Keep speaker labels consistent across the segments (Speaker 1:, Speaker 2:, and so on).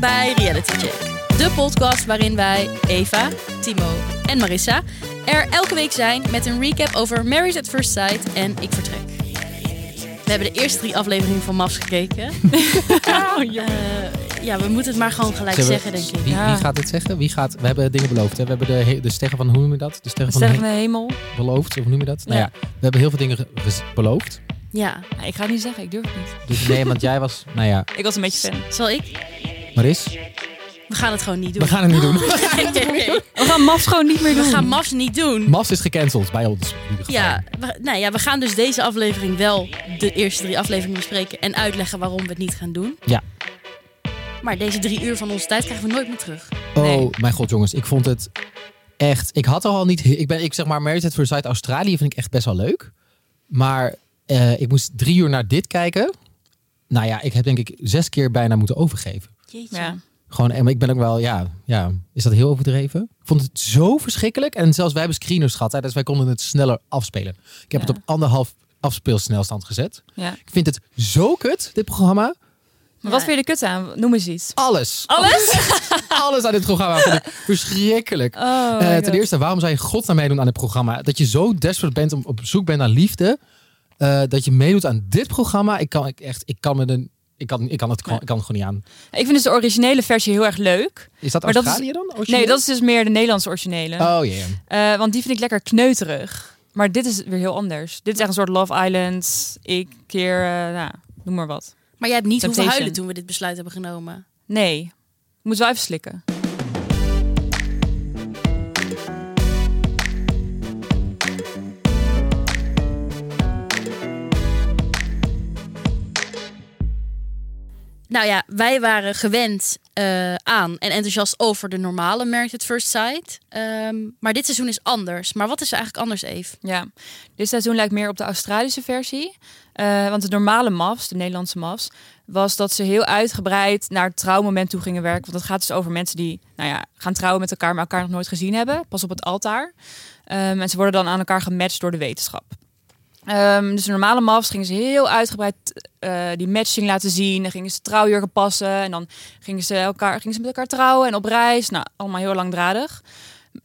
Speaker 1: bij Reality Check. De podcast waarin wij, Eva, Timo en Marissa, er elke week zijn met een recap over Marriage at First Sight en Ik Vertrek. We hebben de eerste drie afleveringen van MAFS gekeken.
Speaker 2: Oh,
Speaker 1: Eh, ja, we moeten het maar gewoon gelijk
Speaker 3: Zullen we-
Speaker 1: zeggen, denk ik.
Speaker 3: Wie,
Speaker 2: Ja.
Speaker 3: wie gaat dit zeggen? Wie gaat, we hebben dingen beloofd. Hè? We hebben de, he- de sterren van, hoe noem je dat? De sterren van,
Speaker 2: Sterren
Speaker 3: de
Speaker 2: van de hemel.
Speaker 3: he- beloofd, of hoe noem je dat? Nou
Speaker 2: Ja.
Speaker 3: ja, we hebben heel veel dingen ge- gez- beloofd.
Speaker 1: Ja,
Speaker 2: Nou, ik ga het niet zeggen, ik durf het niet.
Speaker 3: Dus nee, want jij was, nou ja,
Speaker 2: Ik was een beetje fan.
Speaker 1: zal ik?
Speaker 3: Maris,
Speaker 1: We gaan het gewoon niet doen.
Speaker 3: we gaan het niet doen.
Speaker 1: Nee, nee, nee.
Speaker 2: We gaan MAF gewoon niet meer
Speaker 1: We
Speaker 2: doen.
Speaker 1: gaan MAFS niet doen.
Speaker 3: Mas is gecanceld, bij ons in ieder geval.
Speaker 1: Ja, we, nou ja, we gaan dus deze aflevering wel de eerste drie afleveringen bespreken en uitleggen waarom we het niet gaan doen.
Speaker 3: Ja.
Speaker 1: Maar deze drie uur van onze tijd krijgen we nooit meer terug.
Speaker 3: Oh
Speaker 2: Nee.
Speaker 3: mijn god jongens, ik vond het echt... Ik had er al niet... Ik ben, ik zeg maar, Married at First Sight Australië vind ik echt best wel leuk. Maar eh, ik moest drie uur naar dit kijken. Nou ja, ik heb denk ik zes keer bijna moeten overgeven.
Speaker 1: Jeetje.
Speaker 2: Ja.
Speaker 3: Gewoon, en ik ben ook wel, ja, ja, is dat heel overdreven? Ik vond het zo verschrikkelijk. En zelfs wij hebben screeners gehad, hè, dus wij konden het sneller afspelen. Ik heb
Speaker 2: Ja.
Speaker 3: het op anderhalf afspeelsnelstand gezet.
Speaker 2: Ja.
Speaker 3: Ik vind het zo kut, dit programma.
Speaker 2: Maar
Speaker 1: Ja.
Speaker 2: wat vind je er kut aan? Noem eens iets.
Speaker 3: Alles,
Speaker 2: Alles?
Speaker 3: alles aan dit programma vond ik verschrikkelijk.
Speaker 2: Oh,
Speaker 3: Eh,
Speaker 2: my
Speaker 3: ten
Speaker 2: God.
Speaker 3: eerste, waarom zou je godsnaam meedoen aan dit programma? Dat je zo desperate bent, om, op zoek bent naar liefde. eh, dat je meedoet aan dit programma. Ik kan ik echt, ik kan me de, ik kan, ik kan het gewoon, ik kan het gewoon niet aan.
Speaker 2: Ik vind dus de originele versie heel erg leuk.
Speaker 3: Is dat
Speaker 2: Maar dat is-
Speaker 3: Australië dan?
Speaker 2: Nee,
Speaker 3: Oceaan?
Speaker 2: dat is dus meer de Nederlandse originele.
Speaker 3: Oh ja. ja.
Speaker 2: Eh, want die vind ik lekker kneuterig. Maar dit is weer heel anders. Dit is echt een soort Love Island. Ik keer, eh, nou, noem maar wat.
Speaker 1: Maar jij hebt niet hoeven
Speaker 2: Temptation.
Speaker 1: huilen toen we dit besluit hebben genomen.
Speaker 2: Nee, moet wel even slikken.
Speaker 1: Nou ja, wij waren gewend eh, aan en enthousiast over de normale Married at First Sight. Ehm, maar dit seizoen is anders. Maar wat is er eigenlijk anders, Eve?
Speaker 2: Ja, dit seizoen lijkt meer op de Australische versie. Eh, want de normale MAFs, de Nederlandse MAFs, was dat ze heel uitgebreid naar het trouwmoment toe gingen werken. Want dat gaat dus over mensen die nou ja, gaan trouwen met elkaar, maar elkaar nog nooit gezien hebben. Pas op het altaar. Ehm, en ze worden dan aan elkaar gematcht door de wetenschap. Ehm, dus de normale MAFs gingen ze heel uitgebreid eh, die matching laten zien. Dan gingen ze trouwjurken passen. En dan gingen ze, elkaar, gingen ze met elkaar trouwen en op reis. Nou, allemaal heel langdradig.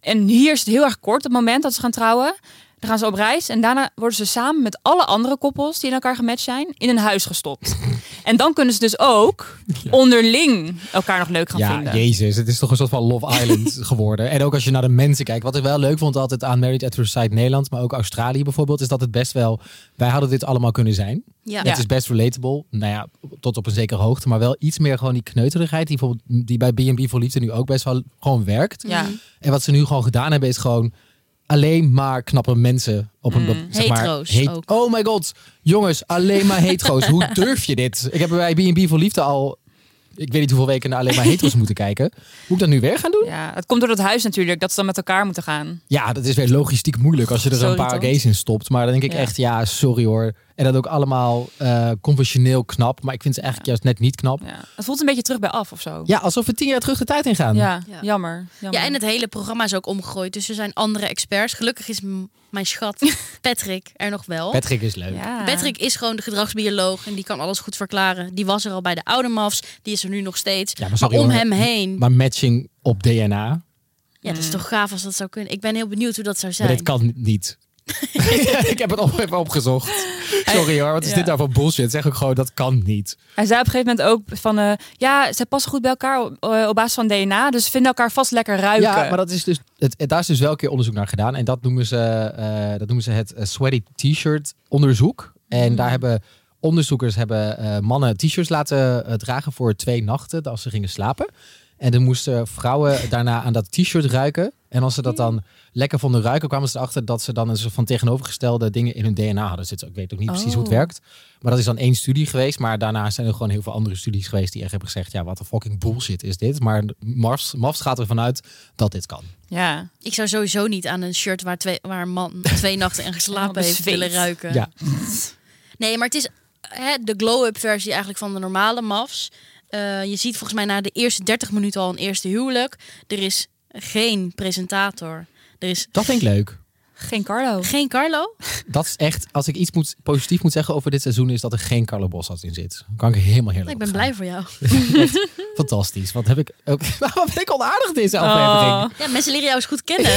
Speaker 2: En hier is het heel erg kort, het moment dat ze gaan trouwen. Dan gaan ze op reis en daarna worden ze samen met alle andere koppels die in elkaar gematcht zijn, in een huis gestopt. en dan kunnen ze dus ook onderling elkaar nog leuk gaan
Speaker 3: Ja,
Speaker 2: vinden.
Speaker 3: jezus. Het is toch een soort van Love Island geworden. En ook als je naar de mensen kijkt. Wat ik wel leuk vond altijd aan Married at First Sight Nederland, maar ook Australië bijvoorbeeld, is dat het best wel... Wij hadden dit allemaal kunnen zijn.
Speaker 1: Ja.
Speaker 3: Het is best relatable. Nou ja, tot op een zekere hoogte. Maar wel iets meer gewoon die kneuterigheid die, bijvoorbeeld, die bij B&B voor Liefde nu ook best wel gewoon werkt.
Speaker 2: Ja.
Speaker 3: En wat ze nu gewoon gedaan hebben is gewoon alleen maar knappe mensen op een... be- Zeg maar,
Speaker 1: Mm. Hetero's ook.
Speaker 3: Oh my god. Jongens, alleen maar hetero's. Hoe durf je dit? Ik heb bij B&B voor Liefde al... Ik weet niet hoeveel weken naar alleen maar hetero's moeten kijken. Moet ik dat nu weer gaan doen?
Speaker 2: Ja, het komt door dat huis natuurlijk, dat ze dan met elkaar moeten gaan.
Speaker 3: Ja, dat is weer logistiek moeilijk als je er
Speaker 2: Zo
Speaker 3: een paar
Speaker 2: irritant.
Speaker 3: gays in stopt. Maar dan denk ik
Speaker 2: Ja.
Speaker 3: echt, ja, sorry hoor. En dat ook allemaal eh, conventioneel knap. Maar ik vind ze eigenlijk juist net niet knap.
Speaker 2: Ja. Het voelt een beetje terug bij af of zo.
Speaker 3: Ja, alsof we tien jaar terug de tijd ingaan.
Speaker 2: Ja,
Speaker 1: Ja.
Speaker 2: Jammer, jammer.
Speaker 1: Ja, en het hele programma is ook omgegooid. Dus er zijn andere experts. Gelukkig is m- mijn schat Patrick er nog wel.
Speaker 3: Patrick is leuk.
Speaker 2: Ja.
Speaker 1: Patrick is gewoon de gedragsbioloog en die kan alles goed verklaren. Die was er al bij de oude MAFs, die is er nu nog steeds.
Speaker 3: Ja,
Speaker 1: maar
Speaker 3: maar sorry,
Speaker 1: om
Speaker 3: hoor.
Speaker 1: hem heen.
Speaker 3: Maar matching op DNA,
Speaker 1: Ja, dat is
Speaker 2: Mm.
Speaker 1: toch gaaf als dat zou kunnen. Ik ben heel benieuwd hoe dat zou
Speaker 3: maar
Speaker 1: zijn.
Speaker 3: dit kan niet. ik heb het op, even opgezocht. Sorry hoor, wat is
Speaker 2: Ja.
Speaker 3: dit nou voor bullshit? Zeg ook gewoon, dat kan niet.
Speaker 2: Hij zei op een gegeven moment ook van, eh, ja, ze passen goed bij elkaar op, eh, op basis van DNA, dus ze vinden elkaar vast lekker ruiken.
Speaker 3: Ja, maar dat is dus, het, het- daar is dus wel een keer onderzoek naar gedaan. En dat noemen ze, eh, dat noemen ze het eh, sweaty t-shirt onderzoek. En daar hebben onderzoekers hebben, eh, mannen t-shirts laten eh, dragen voor twee nachten als ze gingen slapen. En dan moesten vrouwen daarna aan dat t-shirt ruiken. En als ze dat dan lekker vonden ruiken, kwamen ze erachter dat ze dan een soort van tegenovergestelde dingen in hun DNA hadden zitten. Ik weet ook niet precies hoe het
Speaker 2: Oh.
Speaker 3: werkt. Maar dat is dan één studie geweest. Maar daarna zijn er gewoon heel veel andere studies geweest die echt hebben gezegd: ja, wat een fucking bullshit is dit. Maar Mars, Mars gaat ervan uit dat dit kan.
Speaker 2: Ja.
Speaker 1: Ik zou sowieso niet aan een shirt waar, twee, waar een man twee nachten en geslapen
Speaker 2: Helemaal
Speaker 1: heeft
Speaker 2: bezweet.
Speaker 1: willen ruiken.
Speaker 3: Ja.
Speaker 1: Nee, maar het is hè, de glow-up versie eigenlijk van de normale MAFs. Eh, je ziet volgens mij na de eerste 30 minuten al een eerste huwelijk. Er is geen presentator. Er is
Speaker 3: Dat vind ik leuk.
Speaker 2: Geen Carlo.
Speaker 1: Geen Carlo?
Speaker 3: Dat is echt, als ik iets moet, positief moet zeggen over dit seizoen, is dat er geen Carlo Bossas in zit. Dan kan ik helemaal heerlijk
Speaker 1: ik ben
Speaker 3: op
Speaker 1: blij voor jou.
Speaker 3: gaan. Echt Fantastisch. Wat heb ik ook. Waarom ben ik onaardig deze aflevering?
Speaker 2: Oh.
Speaker 1: Ja, mensen leren jou eens goed kennen.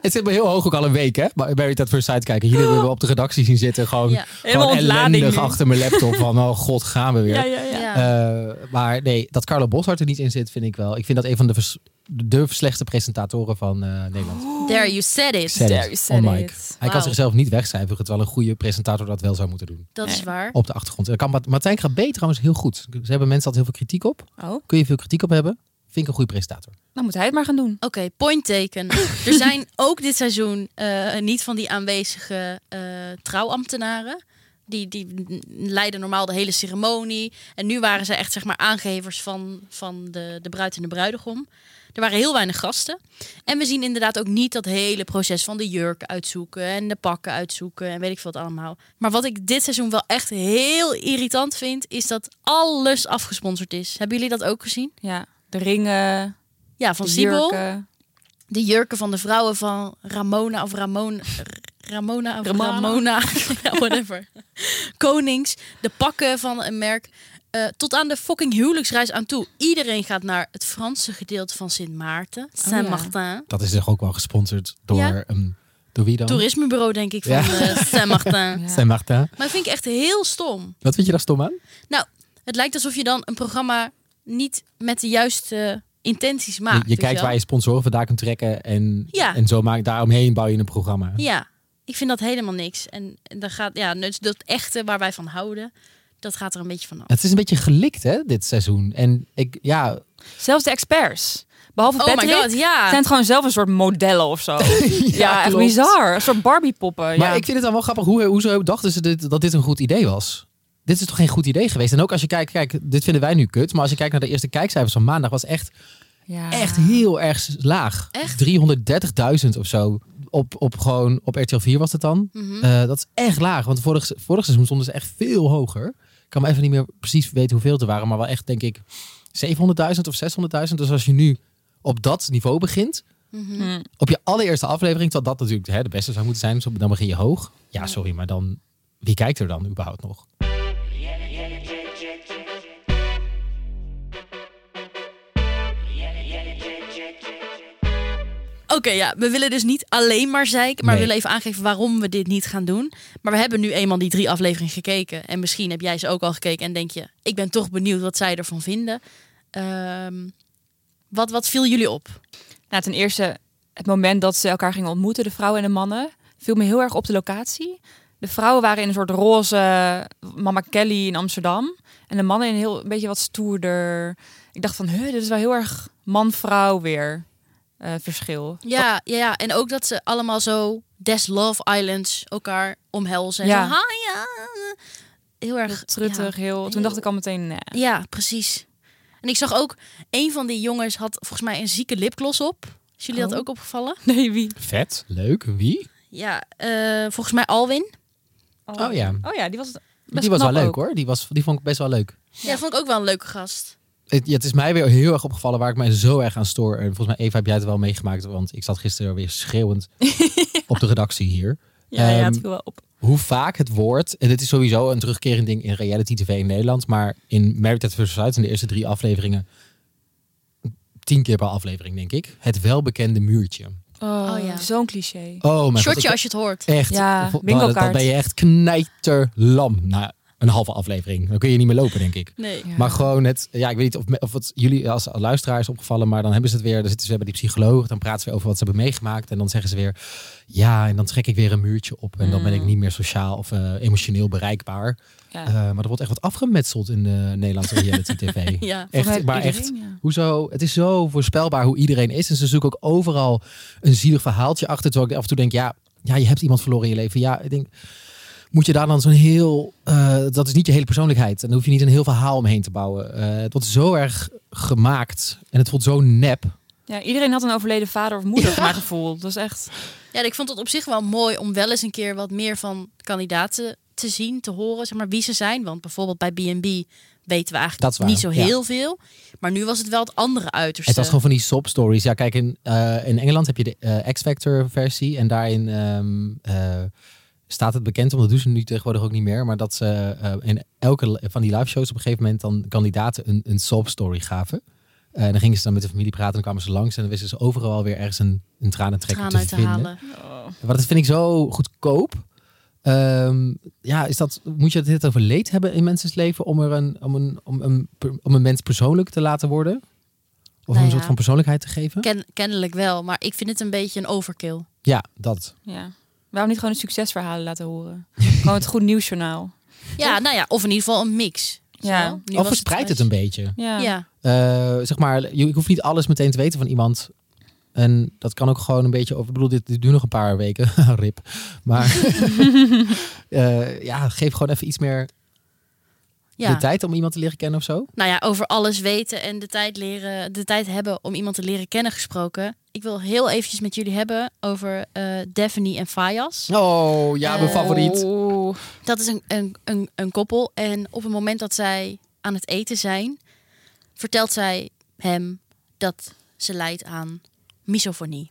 Speaker 3: Het zit me heel hoog ook al een week, hè? Maar Married at First Sight kijken. Hier hebben we op de redactie zien zitten. Gewoon,
Speaker 1: Ja.
Speaker 2: Helemaal
Speaker 3: gewoon
Speaker 2: ontlading
Speaker 3: ellendig
Speaker 2: nu.
Speaker 3: achter mijn laptop. Van, oh god, gaan we weer.
Speaker 2: Ja, ja, ja.
Speaker 1: Ja.
Speaker 3: Eh, maar nee, dat Carlo Boshart er niet in zit, vind ik wel. Ik vind dat een van de, vers- de slechtste presentatoren van eh, Nederland.
Speaker 1: There, you said it.
Speaker 3: Said it,
Speaker 2: Oh, there you said
Speaker 3: on mic.
Speaker 2: it.
Speaker 3: Hij kan
Speaker 1: Wauw.
Speaker 3: zichzelf niet wegcijferen, terwijl een goede presentator dat wel zou moeten doen.
Speaker 1: Dat is
Speaker 2: Nee.
Speaker 1: waar.
Speaker 3: Op de achtergrond. En dat kan Mart- Martijn Krabbe trouwens heel goed. Ze hebben mensen altijd heel veel kritiek op.
Speaker 2: Oh,
Speaker 3: Kun je veel kritiek op hebben? Vind ik een goede presentator.
Speaker 2: dan moet hij het maar gaan doen.
Speaker 1: Oké, point taken. er zijn ook dit seizoen eh, niet van die aanwezige eh, trouwambtenaren. Die, die leiden normaal de hele ceremonie. En nu waren ze echt zeg maar aangevers van, van de, de bruid en de bruidegom. Er waren heel weinig gasten. En we zien inderdaad ook niet dat hele proces van de jurken uitzoeken en de pakken uitzoeken en weet ik veel wat allemaal. Maar wat ik dit seizoen wel echt heel irritant vind, is dat alles afgesponsord is. Hebben jullie dat ook gezien?
Speaker 2: Ja, de ringen,
Speaker 1: Ja, van
Speaker 2: de
Speaker 1: Siebel.
Speaker 2: jurken.
Speaker 1: de jurken van de vrouwen van Ramona of Ramon, R- Ramona of
Speaker 2: Ramana.
Speaker 1: Ramona, Ja, whatever. Konings, de pakken van een merk. eh, tot aan de fucking huwelijksreis aan toe. Iedereen gaat naar het Franse gedeelte van Sint
Speaker 2: Oh,
Speaker 1: Maarten. Saint-Martin.
Speaker 3: Dat is toch ook wel gesponsord door,
Speaker 1: Ja.
Speaker 3: een, door wie dan?
Speaker 1: Toerismebureau, denk ik, van
Speaker 3: Ja.
Speaker 1: eh, Saint-Martin.
Speaker 2: Ja.
Speaker 3: Saint-Martin.
Speaker 1: Maar dat vind ik echt heel stom.
Speaker 3: Wat vind je daar stom aan?
Speaker 1: Het lijkt alsof je dan een programma niet met de juiste intenties maakt.
Speaker 3: Je- je
Speaker 1: Ah, weet
Speaker 3: kijkt
Speaker 1: wel.
Speaker 3: waar je sponsoren vandaan kunt trekken en,
Speaker 1: Ja.
Speaker 3: en zo maak, daaromheen bouw je een programma.
Speaker 1: Ja, ik vind dat helemaal niks. En en dan gaat, ja, dus dat echte waar wij van houden, dat gaat er een beetje van af.
Speaker 3: Het is een beetje gelikt, hè, dit seizoen. En ik, ja,
Speaker 2: Zelfs de experts. Behalve
Speaker 1: Oh my
Speaker 2: Patrick.
Speaker 1: god, ja.
Speaker 2: zijn het gewoon zelf een soort modellen of zo. ja, echt
Speaker 3: klopt.
Speaker 2: bizar. Een soort Barbie-poppen.
Speaker 3: maar
Speaker 2: ja.
Speaker 3: ik vind het dan wel grappig. Hoe, hoezo dachten ze dit, dat dit een goed idee was? Dit is toch geen goed idee geweest? En ook als je kijkt, kijk, dit vinden wij nu kut. Maar als je kijkt naar de eerste kijkcijfers van maandag, was echt,
Speaker 2: Ja.
Speaker 3: echt heel erg laag.
Speaker 1: Echt?
Speaker 3: 330.000 of zo. Op, op gewoon, op RTL 4 was het dan.
Speaker 1: Mhm.
Speaker 3: Eh, dat is echt laag, want vorig, vorig seizoen stonden ze echt veel hoger. Ik kan me even niet meer precies weten hoeveel het er waren, maar wel echt denk ik 700.000 of 600.000. Dus als je nu op dat niveau begint,
Speaker 1: Mhm.
Speaker 2: Hm.
Speaker 3: op je allereerste aflevering, terwijl dat natuurlijk hè, de beste zou moeten zijn, dus dan begin je hoog. Ja, sorry, maar dan, wie kijkt er dan überhaupt nog?
Speaker 1: Oké, ja, we willen dus niet alleen maar zeiken, maar we
Speaker 3: Nee.
Speaker 1: willen even aangeven waarom we dit niet gaan doen. Maar we hebben nu eenmaal die drie afleveringen gekeken. En misschien heb jij ze ook al gekeken en denk je, ik ben toch benieuwd wat zij ervan vinden. Ehm, wat, wat viel jullie op?
Speaker 2: Nou, ten eerste, het moment dat ze elkaar gingen ontmoeten, de vrouwen en de mannen, viel me heel erg op de locatie. De vrouwen waren in een soort roze Mama Kelly in Amsterdam. En de mannen in een heel een beetje wat stoerder. Ik dacht van, huh, dit is wel heel erg man-vrouw weer eh, verschil.
Speaker 1: Ja, ja, ja, en ook dat ze allemaal zo Des Love Islands elkaar omhelzen. En
Speaker 2: Ja.
Speaker 1: zo, "Hi, ja." Heel erg
Speaker 2: Truttig, heel. Toen dacht ik al meteen, nee.
Speaker 1: Ja, precies. En ik zag ook, een van die jongens had volgens mij een zieke lipgloss op. Is jullie dat
Speaker 2: Oh.
Speaker 1: ook opgevallen?
Speaker 2: Nee, wie?
Speaker 3: Vet, leuk, wie?
Speaker 1: Ja, eh, volgens mij Alwin.
Speaker 3: Oh ja.
Speaker 2: Oh ja, die was best
Speaker 3: die was wel
Speaker 2: knap
Speaker 3: leuk
Speaker 2: ook.
Speaker 3: hoor, die, was, die vond ik best wel leuk.
Speaker 1: Ja, dat vond ik ook wel een leuke gast.
Speaker 3: Het, ja, het is mij weer heel erg opgevallen waar ik mij zo erg aan stoor. En volgens mij, Eva, heb jij het wel meegemaakt? Want ik zat gisteren weer schreeuwend op de redactie hier.
Speaker 2: Ja, ja,
Speaker 3: Ehm,
Speaker 2: het viel wel op.
Speaker 3: hoe vaak het woord, en dit is sowieso een terugkerend ding in reality tv in Nederland, maar in Married at First Sight in de eerste drie afleveringen, tien keer per aflevering denk ik, het welbekende muurtje.
Speaker 2: Oh,
Speaker 1: ja.
Speaker 2: Zo'n cliché.
Speaker 3: Oh mijn god.
Speaker 1: Shortje
Speaker 3: ik-
Speaker 1: als je het hoort.
Speaker 3: Echt.
Speaker 2: Ja,
Speaker 3: vo-
Speaker 2: bingo
Speaker 3: nou, dan
Speaker 2: kaart.
Speaker 3: ben je echt knijterlam na een halve aflevering. Dan kun je niet meer lopen denk ik.
Speaker 1: Nee.
Speaker 2: Ja.
Speaker 3: Maar gewoon het, ja, ik weet niet of, me- of het jullie als luisteraar is opgevallen, maar dan hebben ze het weer, dan zitten ze weer bij die psycholoog, dan praten ze weer over wat ze hebben meegemaakt en dan zeggen ze weer, ja, en dan trek ik weer een muurtje op en dan ben ik
Speaker 2: Mm.
Speaker 3: niet meer sociaal of eh, emotioneel bereikbaar.
Speaker 2: Ja.
Speaker 3: Eh, maar er wordt echt wat afgemetseld in de Nederlandse reality tv.
Speaker 1: Ja.
Speaker 3: Echt,
Speaker 2: Volgens
Speaker 3: maar
Speaker 2: mij
Speaker 3: echt,
Speaker 2: iedereen, ja.
Speaker 3: hoezo? Het is zo voorspelbaar hoe iedereen is en ze zoeken ook overal een zielig verhaaltje achter, terwijl ik af en toe denk, ja, ja, je hebt iemand verloren in je leven. Ja, ik denk, moet je daar dan zo'n heel. eh, dat is niet je hele persoonlijkheid. En daar hoef je niet een heel verhaal omheen te bouwen. Eh, het wordt zo erg gemaakt. En het voelt zo nep.
Speaker 2: Ja, iedereen had een overleden vader of moeder, voor mijn gevoel. Dat is echt...
Speaker 1: Ja, ik vond het op zich wel mooi om wel eens een keer wat meer van kandidaten te zien, te horen, zeg maar, wie ze zijn. Want bijvoorbeeld bij B&B weten we
Speaker 3: Dat
Speaker 1: eigenlijk
Speaker 3: is waar,
Speaker 1: niet zo
Speaker 3: ja.
Speaker 1: heel veel. Maar nu was het wel het andere uiterste.
Speaker 3: Het was gewoon van die sob stories. Ja, kijk, in, eh, in Engeland heb je de eh, X-Factor versie. En daarin ehm, eh, staat het bekend, want dat doen ze nu tegenwoordig ook niet meer. Maar dat ze eh, in elke li- van die live shows op een gegeven moment dan kandidaten een, een sob story gaven. Eh, en dan gingen ze dan met de familie praten en dan kwamen ze langs. En dan wisten ze overal weer ergens een, een tranentrekker
Speaker 1: gaan
Speaker 3: te
Speaker 1: uit te
Speaker 3: vinden.
Speaker 1: halen.
Speaker 3: Maar dat vind ik zo goedkoop. Ehm, ja, is dat, moet je het over leed hebben in mensen's leven om, er een, om, een, om, een, per- om een mens persoonlijk te laten worden? Of om
Speaker 1: Nou
Speaker 3: een
Speaker 1: ja.
Speaker 3: soort van persoonlijkheid te geven?
Speaker 1: Ken, kennelijk wel, maar ik vind het een beetje een overkill.
Speaker 3: Ja, dat.
Speaker 2: Ja. Waarom niet gewoon een succesverhalen laten horen? gewoon het goed nieuwsjournaal.
Speaker 1: Ja, nou ja, of in ieder geval een mix.
Speaker 2: Ja.
Speaker 1: Zo, nu
Speaker 3: of
Speaker 1: was
Speaker 3: verspreidt het een
Speaker 1: thuis.
Speaker 3: beetje.
Speaker 2: Ja.
Speaker 1: Ja.
Speaker 3: Eh, zeg maar, je, ik hoef niet alles meteen te weten van iemand. En dat kan ook gewoon een beetje over. Ik bedoel, dit, dit duurt nog een paar weken. Rip. Maar eh, ja, geef gewoon even iets meer
Speaker 1: ja.
Speaker 3: de tijd om iemand te leren kennen of zo.
Speaker 1: Nou ja, over alles weten en de tijd, leren, de tijd hebben om iemand te leren kennen gesproken. Ik wil heel eventjes met jullie hebben over eh Daphne en Fayas.
Speaker 3: Oh, ja, mijn
Speaker 1: Eh,
Speaker 3: favoriet.
Speaker 2: Oeh.
Speaker 1: Dat is een, een, een, een koppel. En op het moment dat zij aan het eten zijn, vertelt zij hem dat ze lijdt aan misofonie.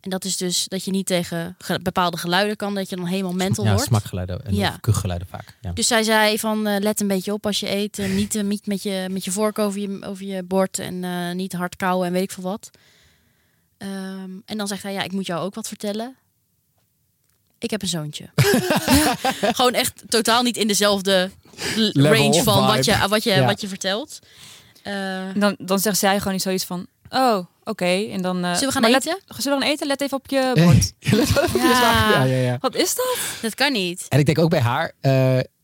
Speaker 1: En dat is dus dat je niet tegen ge- bepaalde geluiden kan, dat je dan helemaal mental
Speaker 3: Ja,
Speaker 1: wordt.
Speaker 3: smakgeluiden en
Speaker 1: Ja.
Speaker 3: of kuchgeluiden vaak. Ja.
Speaker 1: Dus zij zei van eh, let een beetje op als je eet. en niet, eh, niet met, je, met je vork over je, over je bord en eh, niet hard kauwen en weet ik veel wat. Ehm, en dan zegt hij, ja, ik moet jou ook wat vertellen. Ik heb een zoontje. Gewoon echt totaal niet in dezelfde l-
Speaker 3: Level
Speaker 1: range
Speaker 3: of
Speaker 1: van wat
Speaker 3: vibe.
Speaker 1: je, wat, je,
Speaker 3: Ja.
Speaker 1: wat je vertelt. Eh,
Speaker 2: En Dan, dan zegt zij gewoon iets zoiets van... Oh, oké. En dan... eh,
Speaker 1: Zullen we gaan
Speaker 2: maar
Speaker 1: eten?
Speaker 2: Let, zullen we gaan eten? Let even op je bord.
Speaker 1: ja,
Speaker 3: ja, ja, ja.
Speaker 2: Wat is dat?
Speaker 1: dat kan niet.
Speaker 3: En ik denk ook bij haar. eh,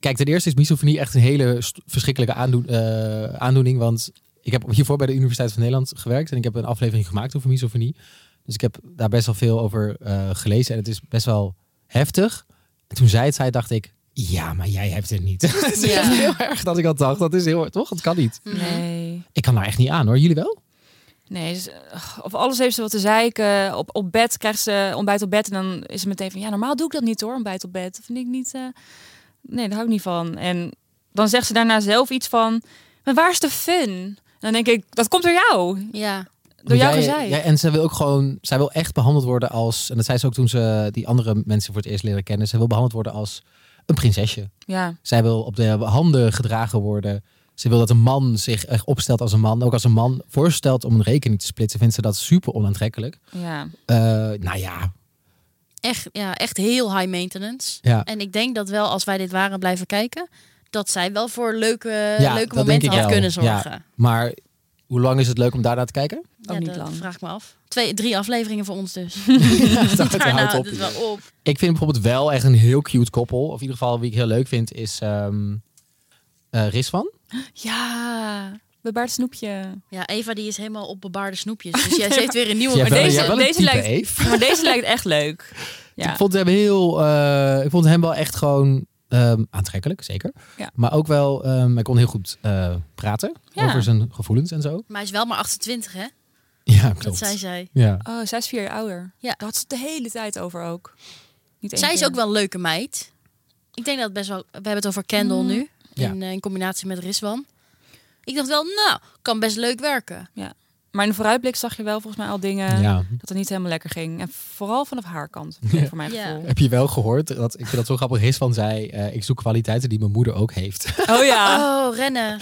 Speaker 3: kijk, ten eerste is misofonie echt een hele st- verschrikkelijke aandoen- eh, aandoening. Want ik heb hiervoor bij de Universiteit van Nederland gewerkt. En ik heb een aflevering gemaakt over misofonie. Dus ik heb daar best wel veel over eh, gelezen. En het is best wel heftig. En toen zij het zei, dacht ik... Ja, maar jij hebt het niet. Het is
Speaker 1: Ja.
Speaker 3: echt heel erg dat ik dat dacht. Dat is heel... Toch? Dat kan niet.
Speaker 1: Mm.
Speaker 2: Nee.
Speaker 3: Ik kan daar echt niet aan hoor. Jullie wel?
Speaker 2: Nee, dus, eh, of alles heeft ze wat te zeiken. Op, op bed krijgt ze ontbijt op bed. En dan is het meteen van, ja, normaal doe ik dat niet hoor, ontbijt op bed. Dat vind ik niet... eh, nee, daar hou ik niet van. En dan zegt ze daarna zelf iets van, maar waar is de fun? En dan denk ik, dat komt door jou.
Speaker 1: Ja,
Speaker 2: Door jou
Speaker 3: jij,
Speaker 2: gezeik.
Speaker 3: jij- en zij wil ook gewoon, zij wil echt behandeld worden als, en dat zei ze ook toen ze die andere mensen voor het eerst leren kennen, zij wil behandeld worden als een prinsesje.
Speaker 2: Ja,
Speaker 3: Zij wil op de handen gedragen worden. Ze wil dat een man zich echt opstelt als een man. Ook als een man voorstelt om een rekening te splitsen, vindt ze dat super onaantrekkelijk.
Speaker 2: ja.
Speaker 3: Eh, nou ja,
Speaker 1: echt, ja, echt heel high maintenance.
Speaker 3: ja.
Speaker 1: En ik denk dat wel als wij dit waren blijven kijken, dat zij wel voor leuke,
Speaker 3: Ja, dat
Speaker 1: leuke
Speaker 3: denk
Speaker 1: momenten
Speaker 3: ik
Speaker 1: had
Speaker 3: wel.
Speaker 1: kunnen
Speaker 3: Ja.
Speaker 1: zorgen.
Speaker 3: Maar hoe lang is het leuk om daarna te kijken?
Speaker 2: Ook niet
Speaker 1: dat
Speaker 2: lang.
Speaker 1: vraag ik me af. Twee, drie afleveringen voor ons dus.
Speaker 3: dat
Speaker 1: Daarna
Speaker 3: houdt
Speaker 1: houdt
Speaker 3: op.
Speaker 1: het wel op.
Speaker 3: Ik vind bijvoorbeeld wel echt een heel cute koppel. Of in ieder geval wie ik heel leuk vind is ehm eh, Rizwan.
Speaker 2: Ja, bebaard snoepje.
Speaker 1: Ja, Eva die is helemaal op bebaarde snoepjes. Dus jij heeft weer een nieuwe...
Speaker 3: Jij hebt wel-
Speaker 2: deze-
Speaker 3: jij hebt wel een
Speaker 2: deze
Speaker 3: type,
Speaker 2: lijkt-
Speaker 3: Eve.
Speaker 2: Maar deze lijkt echt leuk. Ja,
Speaker 3: Ik vond hem heel. eh, ik vond hem wel echt gewoon ehm, aantrekkelijk, zeker.
Speaker 2: Ja.
Speaker 3: Maar ook wel, ehm, hij kon heel goed eh, praten
Speaker 2: Ja.
Speaker 3: over zijn gevoelens en zo.
Speaker 1: Maar hij is wel maar 28, hè?
Speaker 3: Ja,
Speaker 1: Dat
Speaker 3: klopt.
Speaker 1: zei zij.
Speaker 3: Ja.
Speaker 2: oh, zij is vier jaar ouder.
Speaker 1: Ja.
Speaker 2: Daar had ze het de hele tijd over ook. Niet één
Speaker 1: Zij is
Speaker 2: keer.
Speaker 1: ook wel een leuke meid. Ik denk dat het best wel... We hebben het over Kendall
Speaker 2: Mm.
Speaker 1: nu.
Speaker 3: Ja.
Speaker 1: In, eh, in combinatie met Rizwan. Ik dacht wel, nou, kan best leuk werken.
Speaker 2: Maar in de vooruitblik zag je wel volgens mij al dingen...
Speaker 3: ja.
Speaker 2: dat het niet helemaal lekker ging. En vooral vanaf haar kant,
Speaker 3: Ja.
Speaker 2: voor mijn
Speaker 1: Ja.
Speaker 2: gevoel.
Speaker 3: Heb je wel gehoord dat ik vind dat zo grappig is van zij? eh, ik zoek kwaliteiten die mijn moeder ook heeft.
Speaker 2: Oh ja.
Speaker 1: Oh, rennen.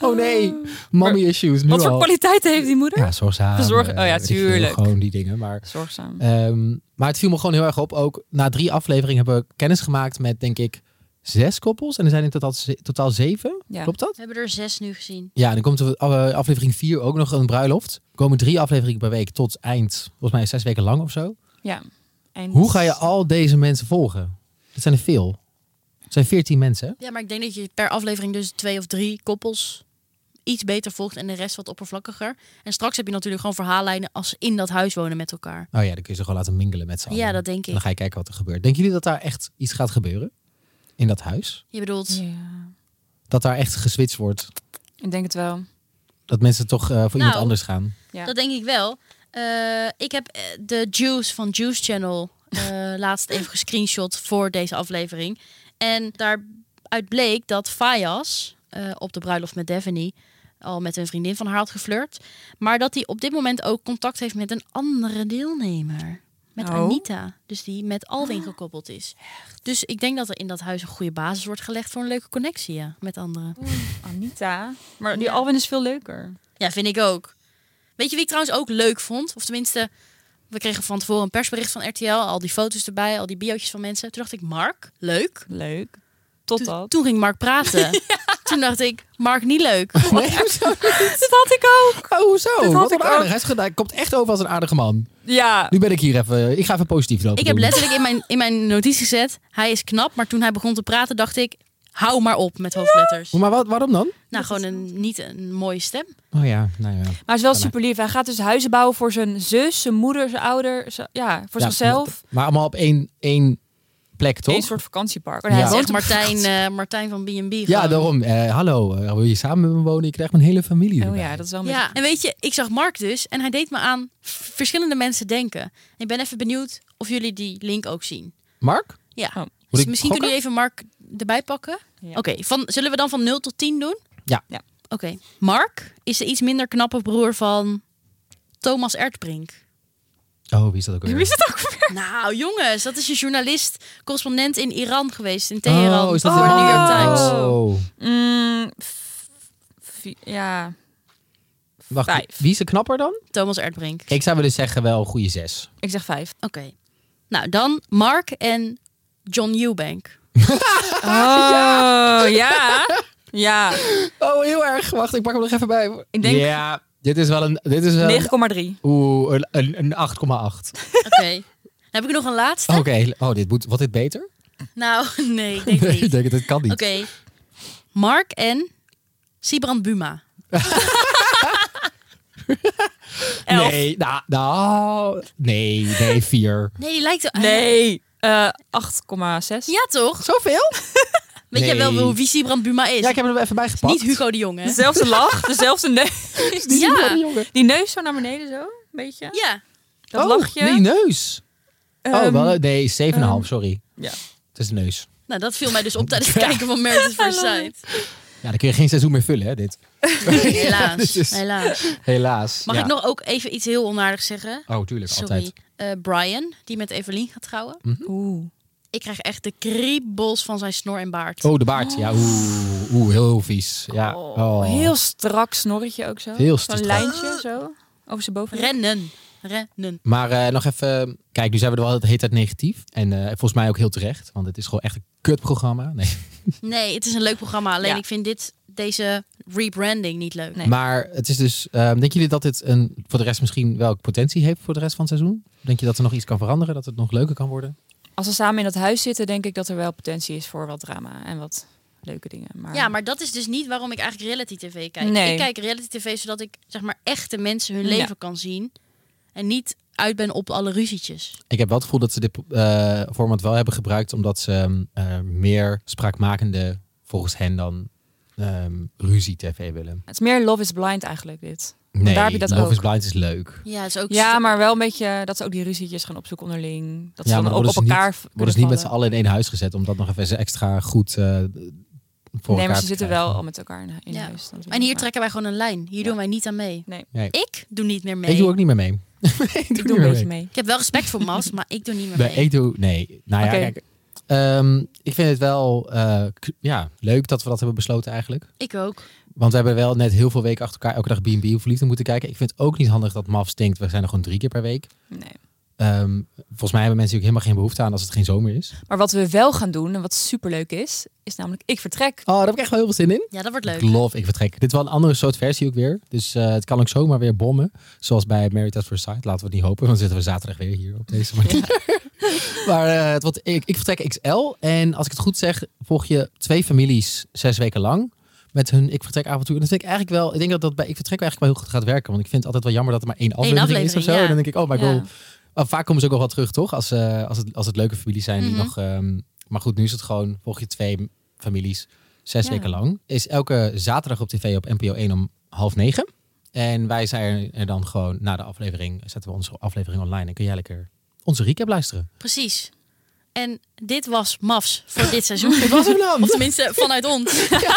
Speaker 3: oh nee, mommy issues. Nu
Speaker 2: Wat voor
Speaker 3: al.
Speaker 2: kwaliteiten heeft die moeder?
Speaker 3: Ja, zorgzaam.
Speaker 2: Verzorgen-
Speaker 3: eh,
Speaker 2: oh ja,
Speaker 3: weet ik veel,
Speaker 2: tuurlijk.
Speaker 3: Gewoon die dingen. Maar
Speaker 2: Zorgzaam.
Speaker 3: Ehm, maar het viel me gewoon heel erg op. Ook na drie afleveringen hebben we kennis gemaakt met, denk ik, zes koppels. En er zijn in totaal, ze- totaal zeven.
Speaker 2: Ja.
Speaker 3: Klopt dat?
Speaker 1: We hebben er zes nu gezien.
Speaker 3: Ja, en dan komt er eh, aflevering vier ook nog een bruiloft. Er komen drie afleveringen per week tot eind, volgens mij zes weken lang of zo.
Speaker 2: Ja. En
Speaker 3: Hoe ga je al deze mensen volgen? Het zijn er veel. Het zijn veertien mensen. hè?
Speaker 1: Ja, maar ik denk dat je per aflevering dus twee of drie koppels iets beter volgt en de rest wat oppervlakkiger. En straks heb je natuurlijk gewoon verhaallijnen als ze in dat huis wonen met elkaar.
Speaker 3: Oh ja, dan kun je ze gewoon laten mingelen met z'n allen.
Speaker 1: Ja, dat denk
Speaker 3: En
Speaker 1: ik.
Speaker 3: dan ga je kijken wat er gebeurt. Denken jullie dat daar echt iets gaat gebeuren? In dat huis?
Speaker 1: Je bedoelt,
Speaker 2: Ja.
Speaker 3: Dat daar echt geswitcht wordt?
Speaker 2: Ik denk het wel.
Speaker 3: Dat mensen toch eh, voor iemand
Speaker 1: Nou,
Speaker 3: anders gaan?
Speaker 2: Ja.
Speaker 1: Dat denk ik wel. Eh, ik heb eh, de Juice van Juice Channel eh, laatst even gescreenshot voor deze aflevering. En daaruit bleek dat Fayas eh, op de bruiloft met Daphne al met een vriendin van haar had geflirt. Maar dat hij op dit moment ook contact heeft met een andere deelnemer. Met
Speaker 2: Oh. Ah.
Speaker 1: Anita. Dus die met Alwin gekoppeld is. Dus ik denk dat er in dat huis een goede basis wordt gelegd voor een leuke connectie ja, met anderen.
Speaker 2: Oh, Anita. Maar die
Speaker 1: Ja.
Speaker 2: Alwin is veel leuker.
Speaker 1: Ja, vind ik ook. Weet je wie ik trouwens ook leuk vond? Of tenminste, we kregen van tevoren een persbericht van RTL. Al die foto's erbij, al die biootjes van mensen. Toen dacht ik, Mark, leuk.
Speaker 2: Leuk.
Speaker 1: Toen,
Speaker 2: Totdat.
Speaker 1: toen ging Mark praten. Toen dacht ik, Mark, niet leuk.
Speaker 3: Nee, hoezo?
Speaker 2: Dat had ik ook.
Speaker 3: Oh, hoezo?
Speaker 2: Dat had
Speaker 3: Wat
Speaker 2: ik
Speaker 3: een aardig.
Speaker 2: ook.
Speaker 3: Hij, is gedaan- hij komt echt over als een aardige man.
Speaker 2: Ja.
Speaker 3: Nu ben ik hier even. Ik ga even positief lopen.
Speaker 1: Ik heb
Speaker 3: doen.
Speaker 1: letterlijk in mijn, in mijn notitie gezet, hij is knap. Maar toen hij begon te praten, dacht ik, hou maar op met hoofdletters.
Speaker 3: Maar wat, waarom dan?
Speaker 1: Nou, gewoon een, niet een mooie stem.
Speaker 3: Oh ja, nou ja.
Speaker 2: Maar hij is wel
Speaker 3: Ja, nee.
Speaker 2: super lief. Hij gaat dus huizen bouwen voor zijn zus, zijn moeder, zijn ouder. zijn- ja, voor
Speaker 3: Ja,
Speaker 2: zichzelf.
Speaker 3: Maar allemaal op één, één plek, toch?
Speaker 2: Een soort vakantiepark. En
Speaker 3: Ja.
Speaker 2: hij
Speaker 1: Hij is
Speaker 2: woont
Speaker 1: echt
Speaker 2: op-
Speaker 1: Martijn, eh, Martijn van B&B.
Speaker 3: Ja,
Speaker 1: gewoon.
Speaker 3: daarom. Eh, hallo, eh, wil je samen met me wonen? Je krijgt mijn hele familie
Speaker 2: Oh
Speaker 3: erbij.
Speaker 2: ja, dat is wel een
Speaker 1: Ja, en weet je, ik zag Mark dus en hij deed me aan v- verschillende mensen denken. En ik ben even benieuwd of jullie die link ook zien.
Speaker 3: Mark?
Speaker 1: Ja.
Speaker 2: Oh.
Speaker 1: Dus
Speaker 3: ik
Speaker 1: misschien
Speaker 3: gokken?
Speaker 1: kunnen jullie even Mark erbij pakken.
Speaker 2: Ja.
Speaker 1: Oké, van zullen we dan van 0 tot 10 doen?
Speaker 3: Ja.
Speaker 2: Ja.
Speaker 1: Oké. Mark is de iets minder knappe broer van Thomas Ertbrink.
Speaker 3: Oh, wie is dat ook
Speaker 2: beetje-
Speaker 3: alweer?
Speaker 2: Wie is het ook weer?
Speaker 1: nou, jongens, dat is een journalist, correspondent in Iran geweest, in Teheran.
Speaker 3: Oh, is dat
Speaker 1: voor de
Speaker 3: de
Speaker 1: New York
Speaker 2: Oh.
Speaker 1: Times.
Speaker 3: Oh.
Speaker 2: Mm, f- f- ja.
Speaker 3: Wacht,
Speaker 2: Vijf.
Speaker 3: wie is de knapper dan?
Speaker 1: Thomas Ertbrink.
Speaker 3: Ik zou willen zeggen wel een goede zes.
Speaker 2: Ik zeg vijf.
Speaker 1: Oké. Nou, dan Mark en John Eubank.
Speaker 2: Oh, ja. Ja.
Speaker 3: Oh, heel erg. Wacht, ik pak hem nog even bij.
Speaker 2: Ik denk-
Speaker 3: Ja, dit is wel een... Dit is wel een
Speaker 2: 9,3.
Speaker 3: oeh, een- een een 8,8.
Speaker 1: Oké. Dan heb ik nog een laatste.
Speaker 3: Oké, oh, dit moet... Wordt dit beter?
Speaker 1: Nou, nee, ik denk niet.
Speaker 3: ik
Speaker 1: Oké.
Speaker 3: denk, dit kan niet.
Speaker 1: Mark en Sibrand Buma. Elf.
Speaker 3: Nee, nou, nou, nee, nee, vier.
Speaker 1: Nee, die lijkt... er-
Speaker 2: Nee. Eh 8,6.
Speaker 1: Ah, Ja, toch?
Speaker 3: Zoveel?
Speaker 1: Weet jij wel
Speaker 3: Nee.
Speaker 1: hoe- wie Sibrand Buma is?
Speaker 3: Ja, ik heb hem er even bij gepakt.
Speaker 1: Niet Hugo de Jonge. hè?
Speaker 2: Dezelfde lach, dezelfde neus.
Speaker 3: Niet
Speaker 1: Ja.
Speaker 3: Hugo de Jonge.
Speaker 2: Die neus zo naar beneden zo, een beetje.
Speaker 1: Ja.
Speaker 2: Dat
Speaker 3: oh,
Speaker 2: lachje.
Speaker 3: die neus. oh,
Speaker 2: Ehm,
Speaker 3: wel, nee, 7,5,
Speaker 2: ehm,
Speaker 3: sorry.
Speaker 2: ja.
Speaker 3: Het is de neus.
Speaker 1: Nou, dat viel mij dus op tijdens het kijken van Marriage at First
Speaker 2: I love
Speaker 1: Sight.
Speaker 3: Ja, dan kun je geen seizoen meer vullen, hè, dit.
Speaker 1: Helaas.
Speaker 3: dit is-
Speaker 1: Helaas.
Speaker 3: Helaas.
Speaker 1: Mag
Speaker 3: ja.
Speaker 1: ik nog ook even iets heel onaardigs zeggen?
Speaker 3: Oh, tuurlijk,
Speaker 1: Sorry.
Speaker 3: altijd.
Speaker 1: Eh, Brian, die met Evelien gaat trouwen.
Speaker 2: Oeh.
Speaker 1: Ik krijg echt de kriebels van zijn snor en baard.
Speaker 3: Oh, de baard. Ja, oeh, oeh heel vies. Ja.
Speaker 2: Oh,
Speaker 3: Oh.
Speaker 2: Heel strak snorretje ook zo. Zo'n
Speaker 3: Heel strak.
Speaker 2: lijntje zo. Over zijn boven.
Speaker 1: Rennen. Rennen.
Speaker 3: Maar eh, nog even... Kijk, nu zijn we er wel de hele tijd negatief. En eh, volgens mij ook heel terecht. Want het is gewoon echt een kutprogramma. Nee.
Speaker 1: Nee, het is een leuk programma. Alleen
Speaker 2: Ja.
Speaker 1: ik vind dit, deze rebranding niet leuk.
Speaker 2: Nee.
Speaker 3: Maar het is dus... ehm, denken jullie dat dit een, voor de rest misschien wel potentie heeft voor de rest van het seizoen? Denk je dat er nog iets kan veranderen? Dat het nog leuker kan worden?
Speaker 2: Als we samen in dat huis zitten, denk ik dat er wel potentie is voor wat drama en wat leuke dingen. Maar...
Speaker 1: Ja, maar dat is dus niet waarom ik eigenlijk reality tv kijk.
Speaker 2: Ah. Nee.
Speaker 1: Ik kijk reality tv zodat ik zeg maar echte mensen hun
Speaker 2: Ja.
Speaker 1: leven kan zien. En niet uit ben op alle ruzietjes.
Speaker 3: Ik heb wel het gevoel dat ze dit eh, format wel hebben gebruikt. Omdat ze ehm, eh, meer spraakmakende, volgens hen dan, ehm, ruzie tv willen.
Speaker 2: Het is meer Love is Blind eigenlijk dit.
Speaker 3: Nee,
Speaker 2: daar heb je dat
Speaker 3: Love
Speaker 2: ook.
Speaker 3: is Blind is leuk.
Speaker 1: Ja, het is ook
Speaker 2: Ja, maar wel een beetje dat ze ook die ruzietjes gaan opzoeken onderling. Dat ze
Speaker 3: Ja, maar
Speaker 2: dan
Speaker 3: dan
Speaker 2: ook op
Speaker 3: worden ze
Speaker 2: elkaar v-
Speaker 3: Worden
Speaker 2: kunnen
Speaker 3: ze niet met z'n
Speaker 2: vallen.
Speaker 3: allen in één huis gezet. Om dat nog even extra goed eh,
Speaker 2: Nee,
Speaker 3: voor elkaar
Speaker 2: maar ze
Speaker 3: te
Speaker 2: zitten
Speaker 3: krijgen.
Speaker 2: wel al met elkaar in, in
Speaker 1: Ja.
Speaker 2: huis. dan
Speaker 1: En hier
Speaker 2: maar-
Speaker 1: trekken wij gewoon een lijn. Hier doen wij niet aan mee.
Speaker 2: Nee.
Speaker 3: Nee.
Speaker 1: Ik doe niet meer mee.
Speaker 3: Ik doe ook niet meer mee. ik
Speaker 2: Ik doe een beetje mee.
Speaker 1: Ik heb wel respect voor Mas, maar ik doe niet meer mee.
Speaker 3: Nee, ik doe... Nee. Nou ja,
Speaker 2: Oké.
Speaker 3: kijk. ehm, ik vind het wel eh, k- ja, leuk dat we dat hebben besloten eigenlijk.
Speaker 1: Ik ook.
Speaker 3: Want we hebben wel net heel veel weken achter elkaar elke dag B&B verliefd moeten kijken. Ik vind het ook niet handig dat MAF stinkt. We zijn er gewoon drie keer per week.
Speaker 2: Nee.
Speaker 3: Ehm, volgens mij hebben mensen natuurlijk helemaal geen behoefte aan als het geen zomer is.
Speaker 2: Maar wat we wel gaan doen en wat superleuk is, is namelijk ik vertrek.
Speaker 3: Oh, daar heb ik echt wel heel veel zin in.
Speaker 1: Ja, dat wordt
Speaker 3: Ik
Speaker 1: leuk.
Speaker 3: love, ik vertrek. Dit is wel een andere soort versie ook weer. Dus eh, het kan ook zomaar weer bommen. Zoals bij Married at First Sight. Laten we het niet hopen, want dan zitten we zaterdag weer hier op deze manier. maar eh, het wordt, ik, ik vertrek XL. En als ik het goed zeg, volg je twee families zes weken lang. Met hun Ik Vertrek avontuur. En dat vind ik eigenlijk wel... Ik denk dat dat bij Ik Vertrek eigenlijk wel heel goed gaat werken. Want ik vind het altijd wel jammer dat er maar één aflevering, is of
Speaker 1: aflevering,
Speaker 3: zo.
Speaker 1: ja.
Speaker 3: En dan denk ik, oh, maar ik
Speaker 2: Ja.
Speaker 3: wil... oh, vaak komen ze ook nog wel terug, toch? Als, eh, als, het, als het leuke families zijn
Speaker 1: Mhm.
Speaker 3: die nog... ehm, maar goed, nu is het gewoon... Volg je twee families zes
Speaker 2: Ja.
Speaker 3: weken lang. Is elke zaterdag op tv op NPO 1 om half negen. En wij zijn er dan gewoon na de aflevering, zetten we onze aflevering online en kun jij lekker onze recap luisteren.
Speaker 1: Precies. En dit was MAFs voor dit seizoen.
Speaker 3: Dit was hem dan.
Speaker 1: Of tenminste, vanuit ons.
Speaker 3: Denk jij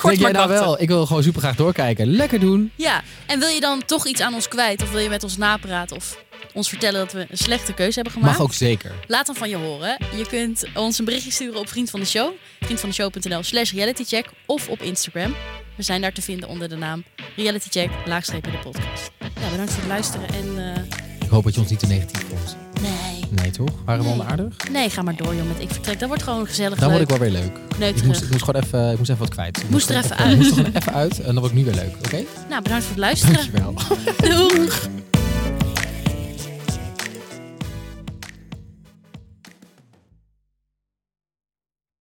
Speaker 2: maar
Speaker 3: nou
Speaker 2: knappen.
Speaker 3: wel? Ik wil gewoon super graag doorkijken. Lekker doen.
Speaker 1: Ja, en wil je dan toch iets aan ons kwijt? Of wil je met ons napraten? Of ons vertellen dat we een slechte keuze hebben gemaakt?
Speaker 3: Mag ook zeker.
Speaker 1: Laat dan van je horen. Je kunt ons een berichtje sturen op Vriend van de Show. Vriendvandeshow.nl slash realitycheck. Of op Instagram. We zijn daar te vinden onder de naam realitycheck laagstreepje de podcast. Ja, bedankt voor het luisteren. En eh,
Speaker 3: Ik hoop dat je ons niet te negatief vond.
Speaker 1: nee.
Speaker 3: Nee, toch? Waren we
Speaker 1: Nee.
Speaker 3: onaardig?
Speaker 1: Nee, ga maar door joh met Ik Vertrek. Dat wordt gewoon gezellig
Speaker 3: Dan
Speaker 1: leuk.
Speaker 3: word ik wel weer leuk. Ik moest, ik moest gewoon even, ik moest even wat kwijt. Ik
Speaker 1: Moest er
Speaker 3: gewoon
Speaker 1: even uit.
Speaker 3: moest er gewoon even uit en dan word ik nu weer leuk, oké?
Speaker 1: Nou, bedankt voor het luisteren.
Speaker 3: Dankjewel.
Speaker 1: Doei!